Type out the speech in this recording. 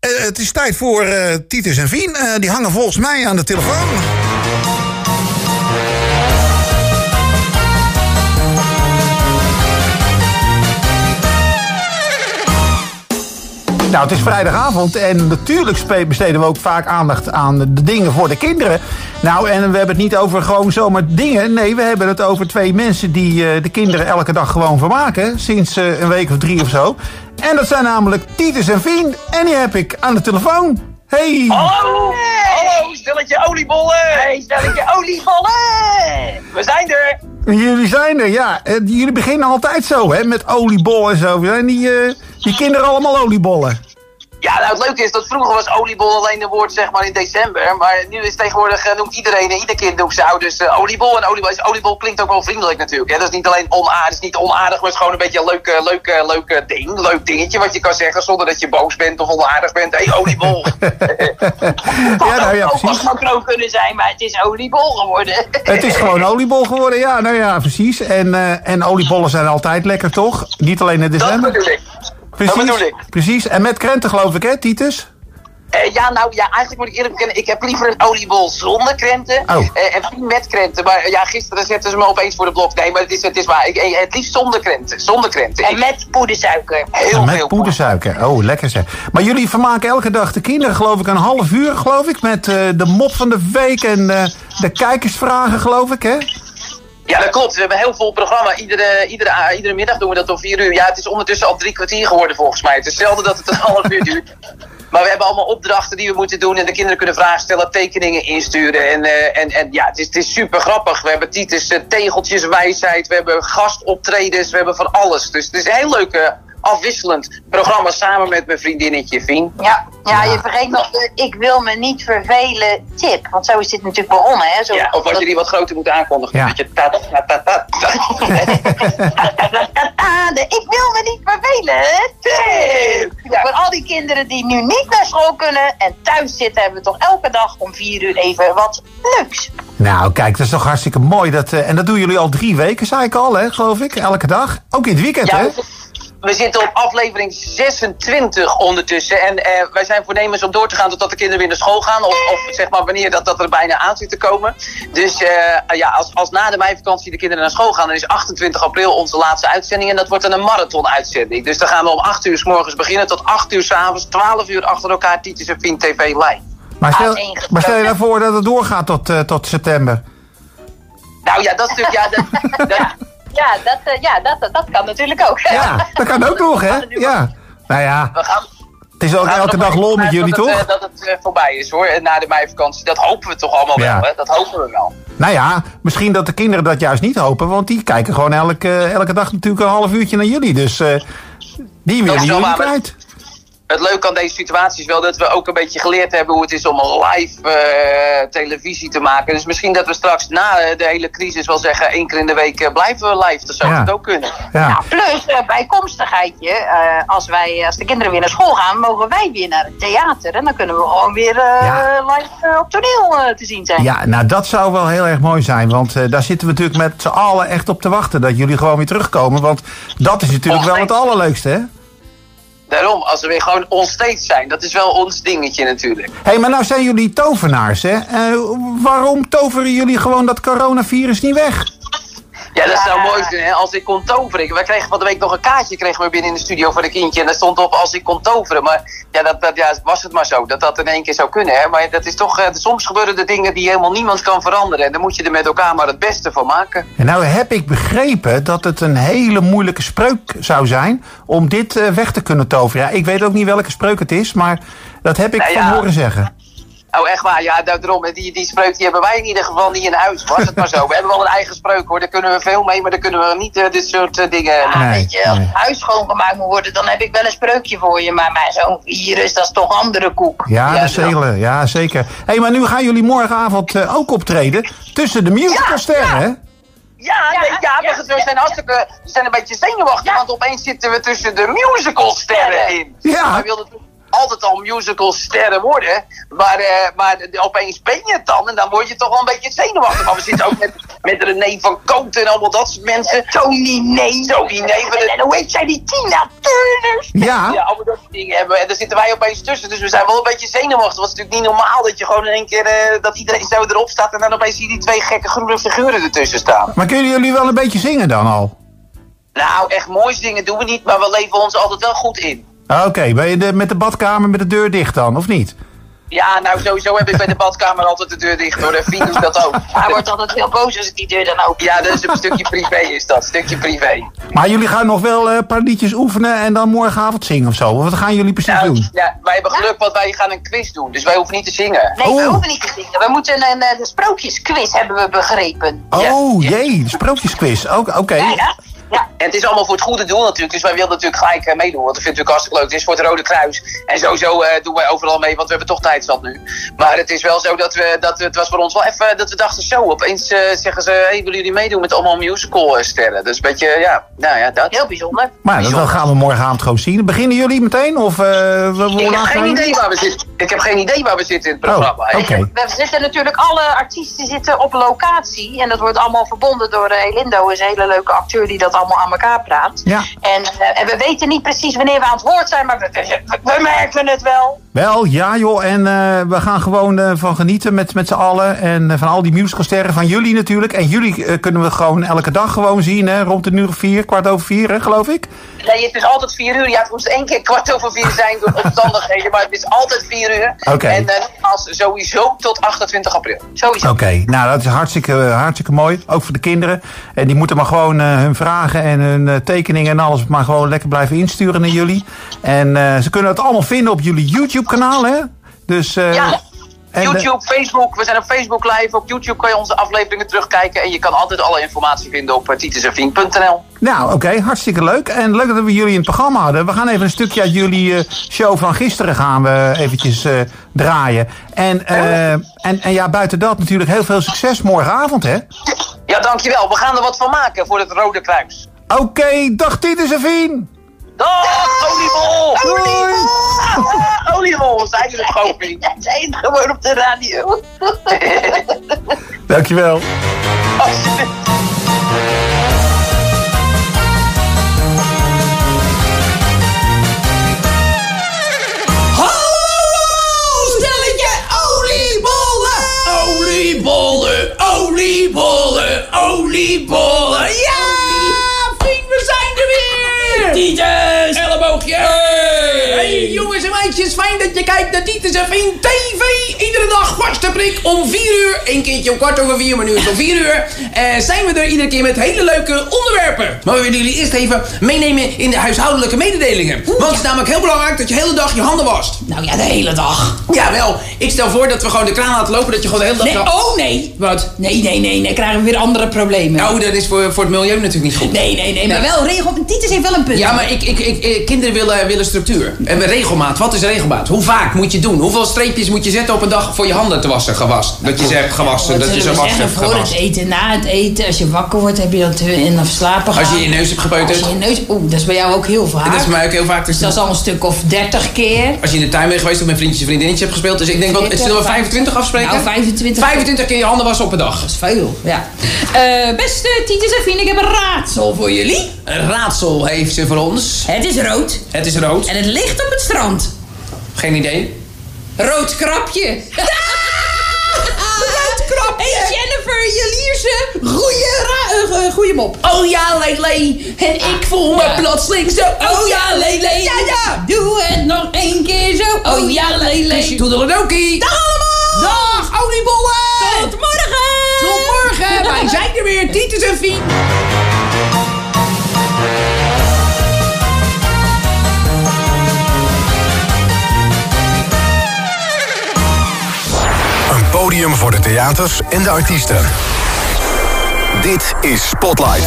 eh, het is tijd voor eh, Titus en Vien. Eh, die hangen volgens mij aan de telefoon. Nou, het is vrijdagavond en natuurlijk spe- besteden we ook vaak aandacht aan de dingen voor de kinderen. Nou, en we hebben het niet over gewoon zomaar dingen. Nee, we hebben het over twee mensen die eh, de kinderen elke dag gewoon vermaken. Sinds eh, een week of drie of zo. En dat zijn namelijk Titus en Vien. En die heb ik aan de telefoon. Hey! Hallo! Hallo, stelletje oliebollen! Hey, stelletje oliebollen! We zijn er! Jullie zijn er, ja. Eh, jullie beginnen altijd zo, hè? Met oliebollen en zo. Zijn die, eh, die kinderen allemaal oliebollen? Ja, nou het leuke is dat vroeger was oliebol alleen een woord zeg maar in december. Maar nu is tegenwoordig eh, noemt iedereen, eh, ieder kind noemt zijn ouders eh, oliebol. En oliebol, is, oliebol klinkt ook wel vriendelijk natuurlijk. Hè? Dat is niet alleen onaardig, is niet onaardig, maar het is gewoon een beetje een leuk, eh, leuk, eh, leuk eh, ding. Leuk dingetje wat je kan zeggen zonder dat je boos bent of onaardig bent. Hé, hey, oliebol! Ja, nou ja, Ook precies. mag knoop kunnen zijn, maar het is oliebol geworden. Het is gewoon oliebol geworden, ja, nou ja, precies. En, eh, en oliebollen zijn altijd lekker, toch? Niet alleen in Dat december. bedoel ik. precies, dat bedoel ik. Precies, en met krenten geloof ik, hè, Titus? Eh, ja, nou ja, eigenlijk moet ik eerlijk bekennen, ik heb liever een oliebol zonder krenten Oh. eh, en geen met krenten. Maar eh, ja, gisteren zetten ze me opeens voor de blok. Nee, maar het is, het is waar. Ik, eh, het liefst zonder krenten. Zonder krenten. En met poedersuiker. Heel met veel poedersuiker. Oh, lekker zeg. Maar jullie vermaken elke dag de kinderen, geloof ik, een half uur, geloof ik. Met eh, de mop van de week en eh, de kijkersvragen, geloof ik, hè? Ja, dat klopt. We hebben een heel vol programma. Iedere, iedere, a- iedere middag doen we dat om vier uur. Ja, het is ondertussen al drie kwartier geworden volgens mij. Het is zelden dat het een half uur duurt. Maar we hebben allemaal opdrachten die we moeten doen. En de kinderen kunnen vragen stellen, tekeningen insturen. En, eh, en, en ja, het is, het is super grappig. We hebben Titus eh, Tegeltjeswijsheid. We hebben gastoptredens. We hebben van alles. Dus het is een heel leuk eh, afwisselend programma samen met mijn vriendinnetje Vien. Ja, ja, Ah. je vergeet nog de ik wil me niet vervelen tip. Want zo is dit natuurlijk begonnen, hè? Zo, Ja, of als je die wat groter moet aankondigen. Ja. Dat je ta- ta- ta- ta- ta- Ah, de ik wil me niet vervelen tip. Ja. Voor al die kinderen die nu niet naar school kunnen en thuis zitten, hebben we toch elke dag om vier uur even wat leuks. Nou, kijk, dat is toch hartstikke mooi. Dat, eh, en dat doen jullie al drie weken, zei ik al, hè, geloof ik. Elke dag. Ook in het weekend, Ja, hè? we- we zitten op aflevering 26 ondertussen. En eh, wij zijn voornemens om door te gaan totdat de kinderen weer naar school gaan. Of, of zeg maar wanneer dat, dat er bijna aan zit te komen. Dus eh, ja, als, als na de meivakantie de kinderen naar school gaan, dan is 28 april onze laatste uitzending. En dat wordt dan een marathon-uitzending. Dus dan gaan we om 8 uur s morgens beginnen tot 8 uur s avonds, 12 uur achter elkaar, Tietjes en Vien TV live. Maar stel, Aaneengesloten. maar stel je nou voor dat het doorgaat tot, eh, tot september. Nou ja, dat is natuurlijk. Ja, dat, dat, Ja, dat, eh, ja, dat, dat, dat kan natuurlijk ook. Ja, dat kan ook nog, hè? Ja. Nou ja, we gaan, het is ook Laten we elke nog dag even lol met vanuit jullie, dat het, toch? eh, dat het eh, voorbij is hoor, na de meivakantie. Dat hopen we toch allemaal Ja. wel, hè? Dat hopen we wel. Nou ja, misschien dat de kinderen dat juist niet hopen, want die kijken gewoon elke, eh, elke dag natuurlijk een half uurtje naar jullie. Dus eh, die willen wel jullie waar, maar- kwijt. Het leuke aan deze situatie is wel dat we ook een beetje geleerd hebben hoe het is om een live eh, televisie te maken. Dus misschien dat we straks na eh, de hele crisis wel zeggen, één keer in de week eh, blijven we live. Dat zou Ja. het ook kunnen. Ja. Nou, plus eh, bijkomstigheidje, eh, als, wij, als de kinderen weer naar school gaan, mogen wij weer naar het theater. En dan kunnen we gewoon weer eh, Ja. live eh, op toneel eh, te zien zijn. ja, nou dat zou wel heel erg mooi zijn, want eh, daar zitten we natuurlijk met z'n allen echt op te wachten dat jullie gewoon weer terugkomen, want dat is natuurlijk wel het allerleukste, hè? Daarom, als we weer gewoon onsteeds zijn, dat is wel ons dingetje natuurlijk. Hé, hey, maar nou zijn jullie tovenaars, hè? Eh, waarom toveren jullie gewoon dat coronavirus niet weg? Ja, dat zou Ja. mooi zijn hè, als ik kon toveren. We kregen van de week nog een kaartje kregen we binnen in de studio van een kindje. En daar stond op als ik kon toveren. Maar ja, dat, dat ja, was het maar zo. Dat dat in één keer zou kunnen. Hè. Maar dat is toch, eh, soms gebeuren er dingen die helemaal niemand kan veranderen. En dan moet je er met elkaar maar het beste van maken. En nou heb ik begrepen dat het een hele moeilijke spreuk zou zijn om dit eh, weg te kunnen toveren. Ja, ik weet ook niet welke spreuk het is, maar dat heb ik Nou van ja. horen zeggen. Oh, echt waar. Ja, daarom. Die, die spreuk die hebben wij in ieder geval niet in huis. Was het maar zo. We hebben wel een eigen spreuk hoor. Daar kunnen we veel mee. Maar daar kunnen we niet eh, dit soort eh, dingen... Ja, Nee, Ah, weet je, als nee. het huis schoongemaakt moet worden, dan heb ik wel een spreukje voor je. Maar, maar zo'n virus, dat is toch andere koek. Ja, Ja, dat is ja. hele, ja zeker. Hé, maar nu gaan jullie morgenavond eh, ook optreden tussen de musicalsterren, hè? Ja, nee, ja, we- we zijn hartstikke we zijn een beetje zenuwachtig, want opeens zitten we tussen de musicalsterren in. Ja. Wij wilden toen altijd al musicalsterren worden, maar, eh, maar de- opeens ben je het dan en dan word je toch wel een beetje zenuwachtig. Maar we zitten ook met met René van Koot en allemaal dat soort mensen. Tony, nee. Tony, nee, maar dat- En hoe heet zij die Tina Turner? Ja, Ja, allemaal dat soort dingen hebben. En daar zitten wij opeens tussen. Dus we zijn wel een beetje zenuwachtig. Want het is natuurlijk niet normaal dat je gewoon in één keer... eh, dat iedereen zo erop staat en dan opeens zie je die twee gekke groene figuren ertussen staan. maar kunnen jullie wel een beetje zingen dan al? Nou, echt moois dingen doen we niet, maar we leven ons altijd wel goed in. Ah, Oké, ben je de, met de badkamer met de deur dicht dan, of niet? Ja, nou sowieso heb ik bij de badkamer altijd de deur dicht hoor. En Fien doet dat ook. Hij wordt altijd heel boos als ik die deur dan open. Ja, dat is een stukje privé is dat. Stukje privé. Maar jullie gaan nog wel eh, een paar liedjes oefenen en dan morgenavond zingen of zo? Of wat gaan jullie precies Nou, doen? ja, wij hebben geluk, want wij gaan een quiz doen. Dus wij hoeven niet te zingen. Nee, we Oh. hoeven niet te zingen. We moeten een, eh, de sprookjesquiz, hebben we begrepen. ja, Oh, ja. jee, de sprookjesquiz. Ook- Oké. Ja, ja. ja. En het is allemaal voor het goede doel natuurlijk. Dus wij willen natuurlijk gelijk eh, meedoen. Want dat vind ik natuurlijk hartstikke leuk. Het is voor het Rode Kruis. En sowieso eh, doen wij overal mee, want we hebben toch tijdstad nu. Maar het is wel zo dat we, dat we- het was voor ons wel even, dat we dachten zo. Opeens eh, zeggen ze, hey, willen jullie meedoen met allemaal musical eh, sterren? Dus een beetje, ja, nou ja, dat. Heel bijzonder. Maar dat, dat gaan we morgenavond gewoon zien. Beginnen jullie meteen? Of, eh, we- we- Ik heb laat geen maar- idee waar we zitten. Ik heb geen idee waar we zitten in het Oh, programma. oké. We zitten natuurlijk, alle artiesten zitten op locatie. En dat wordt allemaal verbonden door eh, Elindo, is een hele leuke acteur die dat allemaal aan elkaar praat. Ja. En, eh, en we weten niet precies wanneer we aan het woord zijn, maar we, we- we merken het wel. Wel, ja joh. En eh, we gaan gewoon eh, van genieten met, met z'n allen. En eh, van al die musicalsterren van jullie natuurlijk. En jullie eh, kunnen we gewoon elke dag gewoon zien. Hè? Rond een uur of vier, kwart over vier, hè, geloof ik. Nee, het is altijd vier uur. Ja, het moest één keer kwart over vier zijn door omstandigheden. maar het is altijd vier uur. Oké. En eh, nogmaals, sowieso tot 28 april. Sowieso. Oké, nou dat is hartstikke, eh, hartstikke mooi. Ook voor de kinderen. En die moeten maar gewoon eh, hun vragen en hun eh, tekeningen en alles maar gewoon lekker blijven insturen naar jullie. En eh, ze kunnen het allemaal vinden op jullie YouTube kanaal hè? Dus, eh, Ja, en, eh, YouTube, Facebook. We zijn op Facebook live. Op YouTube kan je onze afleveringen terugkijken. En je kan altijd alle informatie vinden op eh, titusevien.nl. nou oké, hartstikke leuk. En leuk dat we jullie in het programma hadden. We gaan even een stukje uit jullie eh, show van gisteren gaan we eventjes eh, draaien. En, eh, en, en ja, buiten dat natuurlijk heel veel succes morgenavond hè. Ja, dankjewel. We gaan er wat van maken voor het Rode Kruis. Oké, dag Titus en Fien. Dag, oliebol! Doei. Ah, Oliebol, zijn jullie het gewoon vriend? Wij zijn gewoon op de radio. Oh, Dankjewel. Hallo, stelletje oliebollen! Oliebollen, oliebollen, oliebollen! Ja! Vriend, we zijn er weer! Titus! Elleboogje! Hey. jongens en meisjes, fijn dat je kijkt naar Titus en Vriend TV! Iedere dag vaste prik om 4 uur, een keertje om kwart over 4 minuten om 4 uur. eh, zijn we er iedere keer met hele leuke onderwerpen. Maar we willen jullie eerst even meenemen in de huishoudelijke mededelingen. Want het is namelijk heel belangrijk dat je de hele dag je handen wast. Nou ja, de hele dag. Jawel, ik stel voor dat we gewoon de kraan laten lopen, dat je gewoon de hele dag... Nee, oh nee. Wat? Nee, nee, nee, nee. Krijgen we weer andere problemen. Oh, dat is voor, voor het milieu natuurlijk niet goed. Nee, nee, nee. Maar wel regel. Titus heeft wel een punt. Ja, maar ik, ik, ik, eh, kinderen willen, willen structuur. En regelmaat, wat is regelmaat? Hoe vaak moet je doen? Hoeveel streepjes moet je zetten op een dag voor je handen te wassen, gewas? Dat je ze hebt gewassen, Nou, Wat dat je ze zullen we was zeggen, hebt voor het gewassen. eten, na het eten, als je wakker wordt, heb je dat eh, en of slapen Als gaan. je je neus hebt Als gepeuterd. je je neus... Oeh, dat is bij jou ook heel vaak. Dat is bij mij ook heel vaak. Dus dat is al een stuk of 30 keer. Als je in de tuin bent geweest of met vriendjes en vriendinnetjes hebt gespeeld. Dus ik denk, wat, zullen we 25 afspreken? Nou, 25. 25 keer je handen wassen op een dag. Dat is veel, ja. Eh, beste Titus en Fien, ik heb een raadsel voor jullie. Een raadsel heeft ze voor ons. Het is rood Het is rood. en het ligt op het strand. Geen idee. Rood krapje. Rood krapje. Ah. Hey Jennifer, je lierse. Goeie, ra- eh, eh, goeie mop. Ah. Oh ja, Lele. En ik voel Ja. plotseling zo. Oh ja, lele. Ja, ja. Doe het nog één keer zo. Oh ja, lele. Toedeledokie. Dag allemaal. Dag, oliebollen. Tot morgen. Tot morgen. Wij zijn er weer. Titus en Fien. Een podium voor de theaters en de artiesten. Dit is Spotlight.